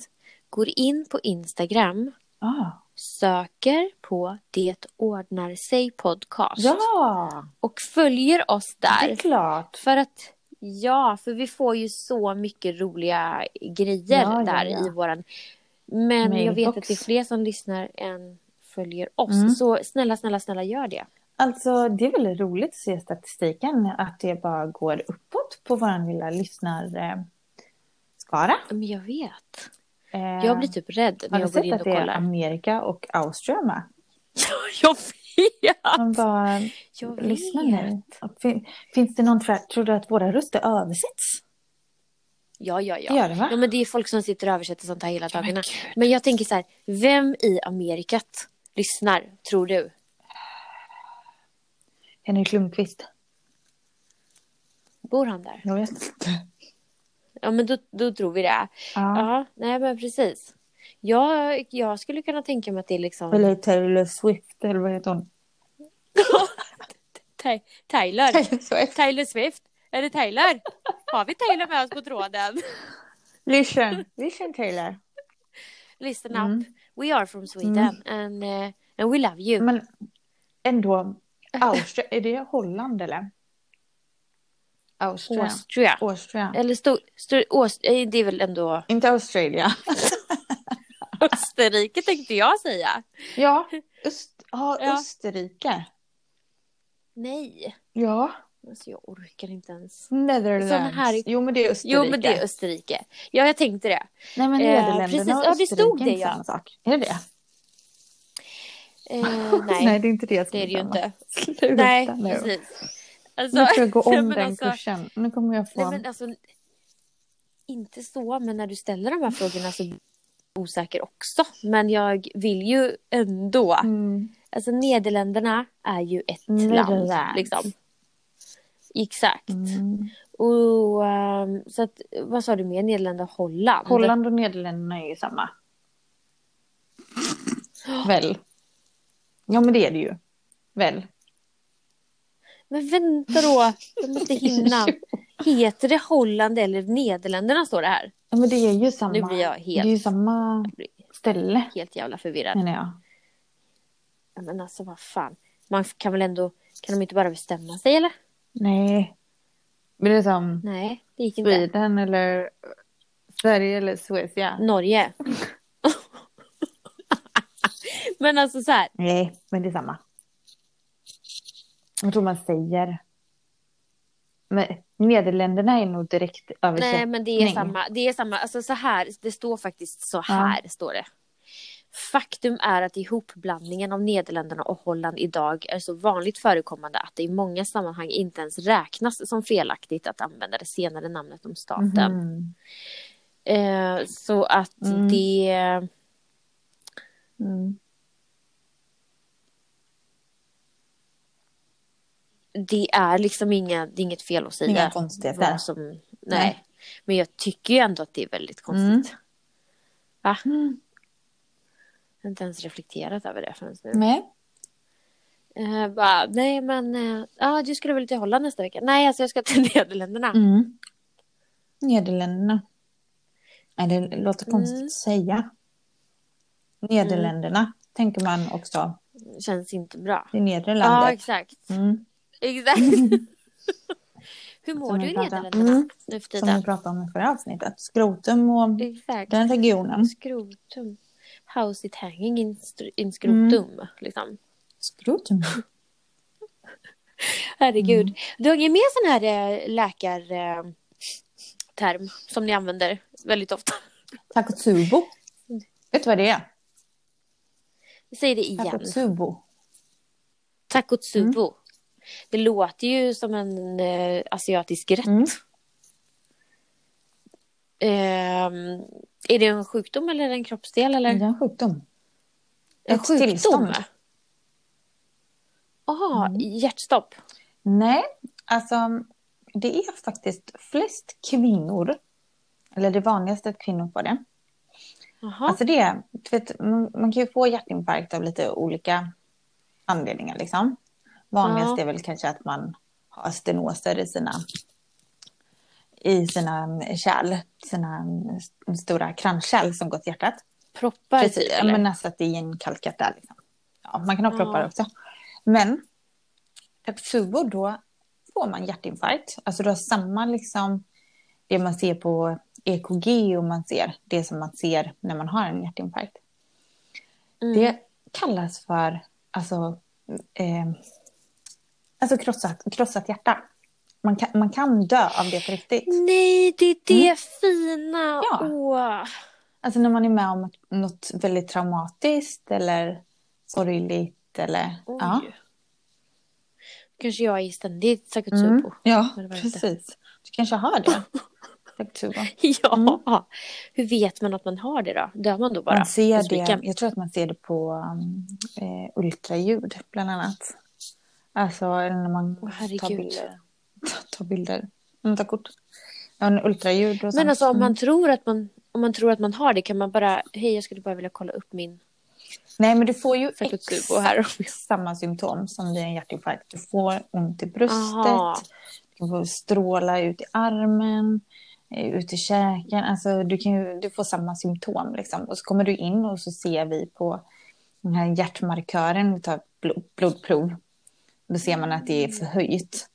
B: går in på Instagram,
A: Ah.
B: söker på Det ordnar sig podcast
A: Ja,
B: och följer oss Alltså, där.
A: det är klart.
B: För att, ja, för vi får ju så mycket roliga grejer
A: Ja, ja,
B: där
A: ja.
B: i våran... Men jag vet
A: Mailbox.
B: att det är fler som lyssnar än följer oss.
A: Mm.
B: Så snälla, snälla, snälla gör det.
A: Alltså det är väldigt roligt att se statistiken att det bara går uppåt på vår lilla lyssnarskara.
B: Men jag vet.
A: Eh,
B: Jag blir typ rädd
A: har
B: när
A: du
B: jag går
A: sett
B: in och
A: att det är
B: kollar.
A: Amerika och Australien med?
B: jag vet!
A: Man bara,
B: Jag vet.
A: lyssna nu. Fin- Finns det någon tvärt? Tror du att våra röster översätts?
B: Ja, ja,
A: Det
B: ja.
A: gör det va?
B: Ja, men det är folk som sitter och översätter sånt här hela dagarna.
A: gud.
B: Men jag tänker så här, vem i Amerikat lyssnar, tror du?
A: Henrik Lundqvist.
B: Bor han där?
A: Jag vet inte.
B: Ja, men då, då tror vi det.
A: Ja.
B: Ja, nej men precis. Jag, jag skulle kunna tänka mig att det är liksom
A: Eller Taylor Swift eller vad heter hon?
B: Ty- Tyler.
A: Swift.
B: Tyler Swift. Är det Taylor? Har vi Taylor med oss på tråden?
A: Listen. Listen Taylor.
B: Listen up.
A: Mm.
B: We are from Sweden and, eh, and we love you.
A: Men ändå, Austria, är det Holland eller? Austria.
B: Austria.
A: Austria.
B: Eller stod, stod, Aust- eh, det är väl ändå
A: Inte Australia.
B: Österrike tänkte jag säga.
A: Ja, Öst, ja,
B: Ja.
A: Österrike.
B: Nej,
A: Ja,
B: alltså jag orkar inte ens.
A: Netherlands.
B: Sån här-
A: Jo, men det är Österrike.
B: Jo men det är Österrike. Ja jag tänkte det.
A: Nej, men
B: eh,
A: Nederländerna
B: precis.
A: och
B: Ja, det
A: Österrike
B: stod
A: är
B: det,
A: inte
B: ja.
A: samma sak. Är det det?
B: Eh, nej,
A: det är inte det jag ska
B: det är det ju
A: bestämma.
B: inte.
A: Sluta
B: Nej
A: nu.
B: precis. Alltså,
A: Nu får jag gå om
B: nej, men
A: den
B: alltså-
A: kursen. Nu kommer jag
B: Nej,
A: få...
B: men alltså, inte så, men när du ställer de här frågorna så blir jag osäker också. Men jag vill ju ändå.
A: Mm.
B: Alltså Nederländerna är ju ett
A: Nederländs.
B: land. Liksom. Exakt.
A: Mm.
B: Och, ehm, så att, vad sa du mer? Nederländerna och Holland?
A: Holland och Nederländerna är ju samma. Väl? Ja, men det är det ju. Väl?
B: Men vänta då, jag måste hinna. Heter det Holland eller Nederländerna står det här.
A: Ja, men det är ju samma.
B: Nu blir jag
A: Det
B: helt,
A: är ju samma ställe,
B: helt jävla förvirrad.
A: menar jag.
B: Men alltså vad fan. Man kan väl ändå, kan de inte bara bestämma sig eller?
A: Nej. Men det är som
B: Nej, det gick inte.
A: Sweden eller Sverige eller Suecia.
B: Norge. Men alltså så här,
A: Nej, men det är samma. Jag tror man säger. Men Nederländerna är nog direkt översatt.
B: nej men det är
A: Nej.
B: samma. Det är samma, alltså så här, det står faktiskt så här står det. Faktum är att ihopblandningen av Nederländerna och Holland idag är så vanligt förekommande att det i många sammanhang inte ens räknas som felaktigt att använda det senare namnet om staten.
A: Mhm.
B: Eh, så att
A: Mm.
B: det...
A: Mm.
B: det är liksom inga, det är inget fel att säga.
A: Inga konstigheter.
B: vad Som, nej.
A: Nej. Mm.
B: Men jag tycker ju ändå att det är väldigt konstigt. Va? Jag har inte ens reflekterat över det förrän nu.
A: Nej.
B: Eh, bara, nej men, eh, ja du skulle väl till Holland nästa vecka? Nej alltså jag ska till Nederländerna.
A: Mm. Nederländerna. Nej, det låter konstigt
B: Mm.
A: att säga. Nederländerna tänker man också.
B: Känns inte bra.
A: Det är nedre
B: Ja
A: landet.
B: exakt.
A: Mm.
B: Exakt. Hur mår
A: Som
B: du
A: vi
B: i
A: pratade-
B: Nederländerna
A: Mm.
B: nu för
A: Som vi
B: tiden?
A: pratade om i förra avsnittet. Skrotum och
B: Mm. Exakt.
A: den regionen.
B: Skrotum. House it hanging in, str-
A: Mm.
B: in skrotum. Liksom.
A: Skrotum?
B: Herregud.
A: Mm.
B: Du har ingen mer sån här eh, läkar... Eh, term som ni använder väldigt ofta.
A: Takotsubo. Vet du vad det är?
B: Säg det igen.
A: Takotsubo.
B: Takotsubo.
A: Mm.
B: Det låter ju som en eh, asiatisk rätt.
A: Mm.
B: Ehm, är det en sjukdom eller en kroppsdel? Eller?
A: Det är en sjukdom.
B: en
A: Mm. ett tillstånd. Mm.
B: Jaha, hjärtstopp.
A: Nej, alltså det är faktiskt flest kvinnor, eller det vanligaste att kvinnor får det.
B: Jaha.
A: Alltså det, är- du vet, man, man kan ju få hjärtinfarkt av lite olika anledningar liksom. Vanligast
B: Ja.
A: är väl kanske att man har stenoser i sina, i sina kärl, sina s- stora kranskärl som går till hjärtat.
B: Proppar
A: Precis,
B: typ,
A: ja,
B: eller?
A: men alltså att det är igenkalkat där. Liksom. Ja, man kan ha
B: Ja.
A: proppar också. Men Pepsubo, då får man hjärtinfarkt. Alltså du har samma liksom det man ser på EKG och man ser det som man ser när man har en hjärtinfarkt.
B: Mm.
A: Det kallas för alltså, eh, alltså krossat, krossat hjärta. Man kan, man kan dö av det på riktigt.
B: Nej, det är det fina.
A: Mm. Ja.
B: Åh.
A: Alltså när man är med om något väldigt traumatiskt eller sorgligt eller...
B: Oj.
A: Ja.
B: Kanske jag är ständigt takotsubo.
A: Mm. Ja,
B: Eller vad det heter.
A: precis. Du kanske har det. Taktuba.
B: Ja. Hur vet man att man har det då? Dör man då bara?
A: Mm. Man ser
B: Hos
A: det,
B: vilken?
A: jag tror att man ser det på um, eh, ultraljud bland annat. Alltså eller när man
B: Åh, herregud.
A: tar bilder. Ta- Tar bilder. Man tar kort. Ja, en ultraljud och sånt.
B: Men alltså om
A: Mm.
B: man, tror att man, om man tror att man har det kan man bara, hej jag skulle bara vilja kolla upp min
A: Nej, men du får ju
B: Takotsubo typ här.
A: exakt samma symptom som vid en hjärtinfarkt. Du får ont i bröstet.
B: Aha.
A: Du kan få stråla ut i armen, eh, ut i käken. Alltså, du, kan ju, du får samma symptom. Liksom. Och så kommer du in och så ser vi på den här hjärtmarkören, vi tar ett bl- blodprov. Då ser man att det är förhöjt.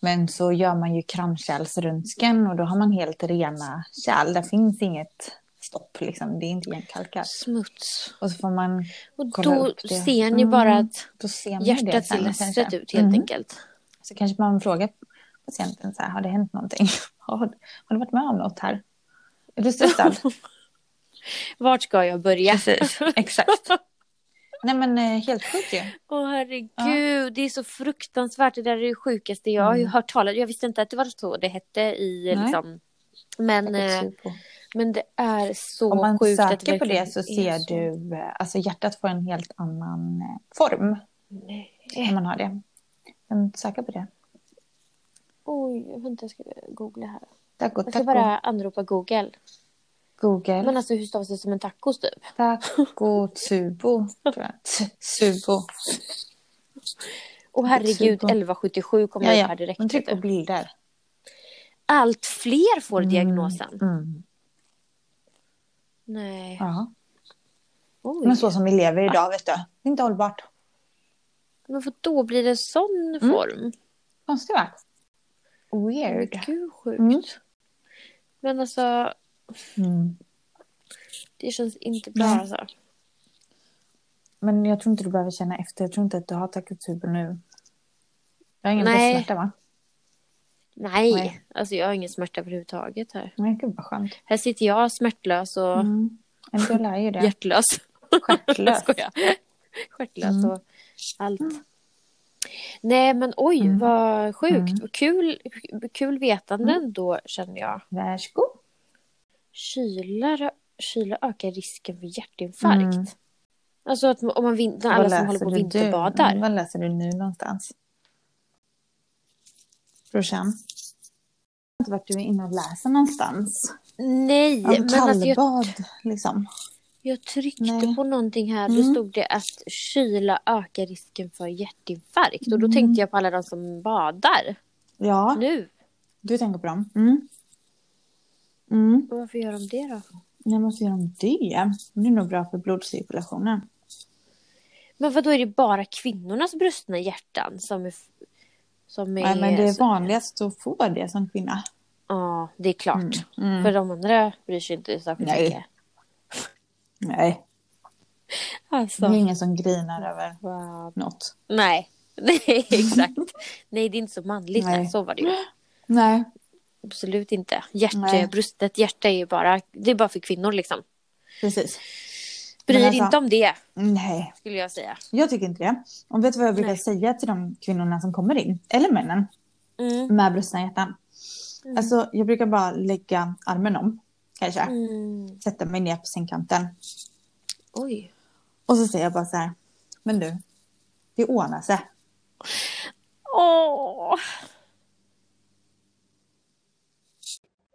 A: Men så gör man ju kranskärlsröntgen och då har man helt rena kärl. Där finns inget stopp, liksom. det är inte igenkalkat.
B: smuts.
A: Och så får man
B: Och
A: Kolla
B: då
A: upp det.
B: ser ni
A: Mm.
B: bara att
A: då ser man ju det
B: hjärtat ser
A: sen,
B: ledset
A: kanske.
B: ut helt
A: Mm.
B: enkelt.
A: Så kanske man frågar patienten så här, har det hänt någonting? Har, har du varit med om något här? Är du stressad?
B: Vart ska jag börja?
A: Precis, exakt. Nej men eh, helt sjukt ju.
B: Åh herregud, det är så fruktansvärt. Det där är det sjukaste jag har ju
A: Mm.
B: hört talas Jag visste inte att det var så det hette i
A: Nej.
B: liksom. Men, eh, men det är så
A: Om man
B: sjukt att
A: söker på
B: verkligen
A: det så
B: är
A: ser
B: så.
A: du, eh, alltså hjärtat får en helt annan eh, form
B: Nej.
A: när man har det. Men söka på det.
B: Oj, vänta jag ska googla här.
A: Taco,
B: Jag ska
A: taco,
B: bara anropa Google.
A: Google.
B: Men alltså hur stavas det som en tacos typ?
A: Taco, tubo, tror jag. T- Subo.
B: Och herregud,
A: Super.
B: 1177 kommer
A: Ja,
B: upp
A: ja.
B: här direkt.
A: Men tryck på
B: vet du.
A: bilder.
B: Allt fler får diagnosen.
A: Mm. Mm.
B: Nej.
A: Ja.
B: Oj.
A: Men så som vi lever idag, vet du. Det är inte hållbart.
B: Men för då blir det en sån
A: Mm.
B: form?
A: Konstigt va?
B: Men
A: Weird.
B: gud sjukt.
A: Mm.
B: Men alltså,
A: Mm.
B: det känns inte bra
A: Nej.
B: alltså.
A: Men jag tror inte du behöver känna efter. Jag tror inte att du har takutuber nu. Du har ingen
B: Nej.
A: bröstsmärta va?
B: Nej,
A: Nej.
B: alltså jag har ingen smärta överhuvudtaget här.
A: Nej, gud vad skönt.
B: Här sitter jag smärtlös och
A: Mm. Men du lär ju det.
B: hjärtlös. Jag
A: Stjärtlös.
B: skojar. Stjärtlös
A: Mm.
B: och allt. Nej men oj
A: Mm.
B: vad sjukt.
A: Mm.
B: Kul, kul vetanden då känner jag.
A: Varsågod.
B: Kyla, kyla ökar risken för hjärtinfarkt.
A: Mm.
B: Alltså att om man vin- alla som håller på och vinterbadar.
A: Vad läser du nu någonstans? Brorsan? Jag har inte varit du är inne och läser någonstans.
B: Nej
A: Om
B: men alltså jag,
A: kallbad liksom.
B: jag tryckte
A: Nej.
B: på någonting här. Då
A: Mm.
B: stod det att kyla ökar risken för hjärtinfarkt. Och då
A: Mm.
B: tänkte jag på alla de som badar
A: Ja,
B: nu.
A: du tänker på dem. Mm. Mm.
B: Och varför gör de det då?
A: Nej, men så gör de det. Det är nog bra för blodcirkulationen.
B: Men vad då är det bara kvinnornas brustna hjärtan som är... Som är
A: Nej, men det är vanligast att få det som kvinna.
B: Ja, det är klart.
A: Mm. Mm.
B: För de andra bryr sig inte särskilt
A: Nej.
B: mycket.
A: Nej, det
B: Alltså.
A: är ingen som grinar över
B: Wow.
A: något.
B: Nej. Nej, exakt. Nej, det är inte så manligt.
A: Nej.
B: Så var det ju.
A: Nej,
B: Absolut inte. Hjärt,
A: Nej.
B: brustet hjärta är ju bara, det är bara för kvinnor liksom.
A: precis. Men
B: Bryr
A: alltså-
B: inte om det,
A: Nej,
B: skulle jag säga.
A: Jag tycker inte det. Och vet du vad jag brukar
B: Nej.
A: säga till de kvinnorna som kommer in, eller männen,
B: Mm.
A: med brustna hjärtan?
B: Mm.
A: Alltså, jag brukar bara lägga armen om, kanske.
B: Mm.
A: Sätta mig ner på sängkanten.
B: Oj.
A: Och så säger jag bara så här, men du, det ordnar sig.
B: Åh,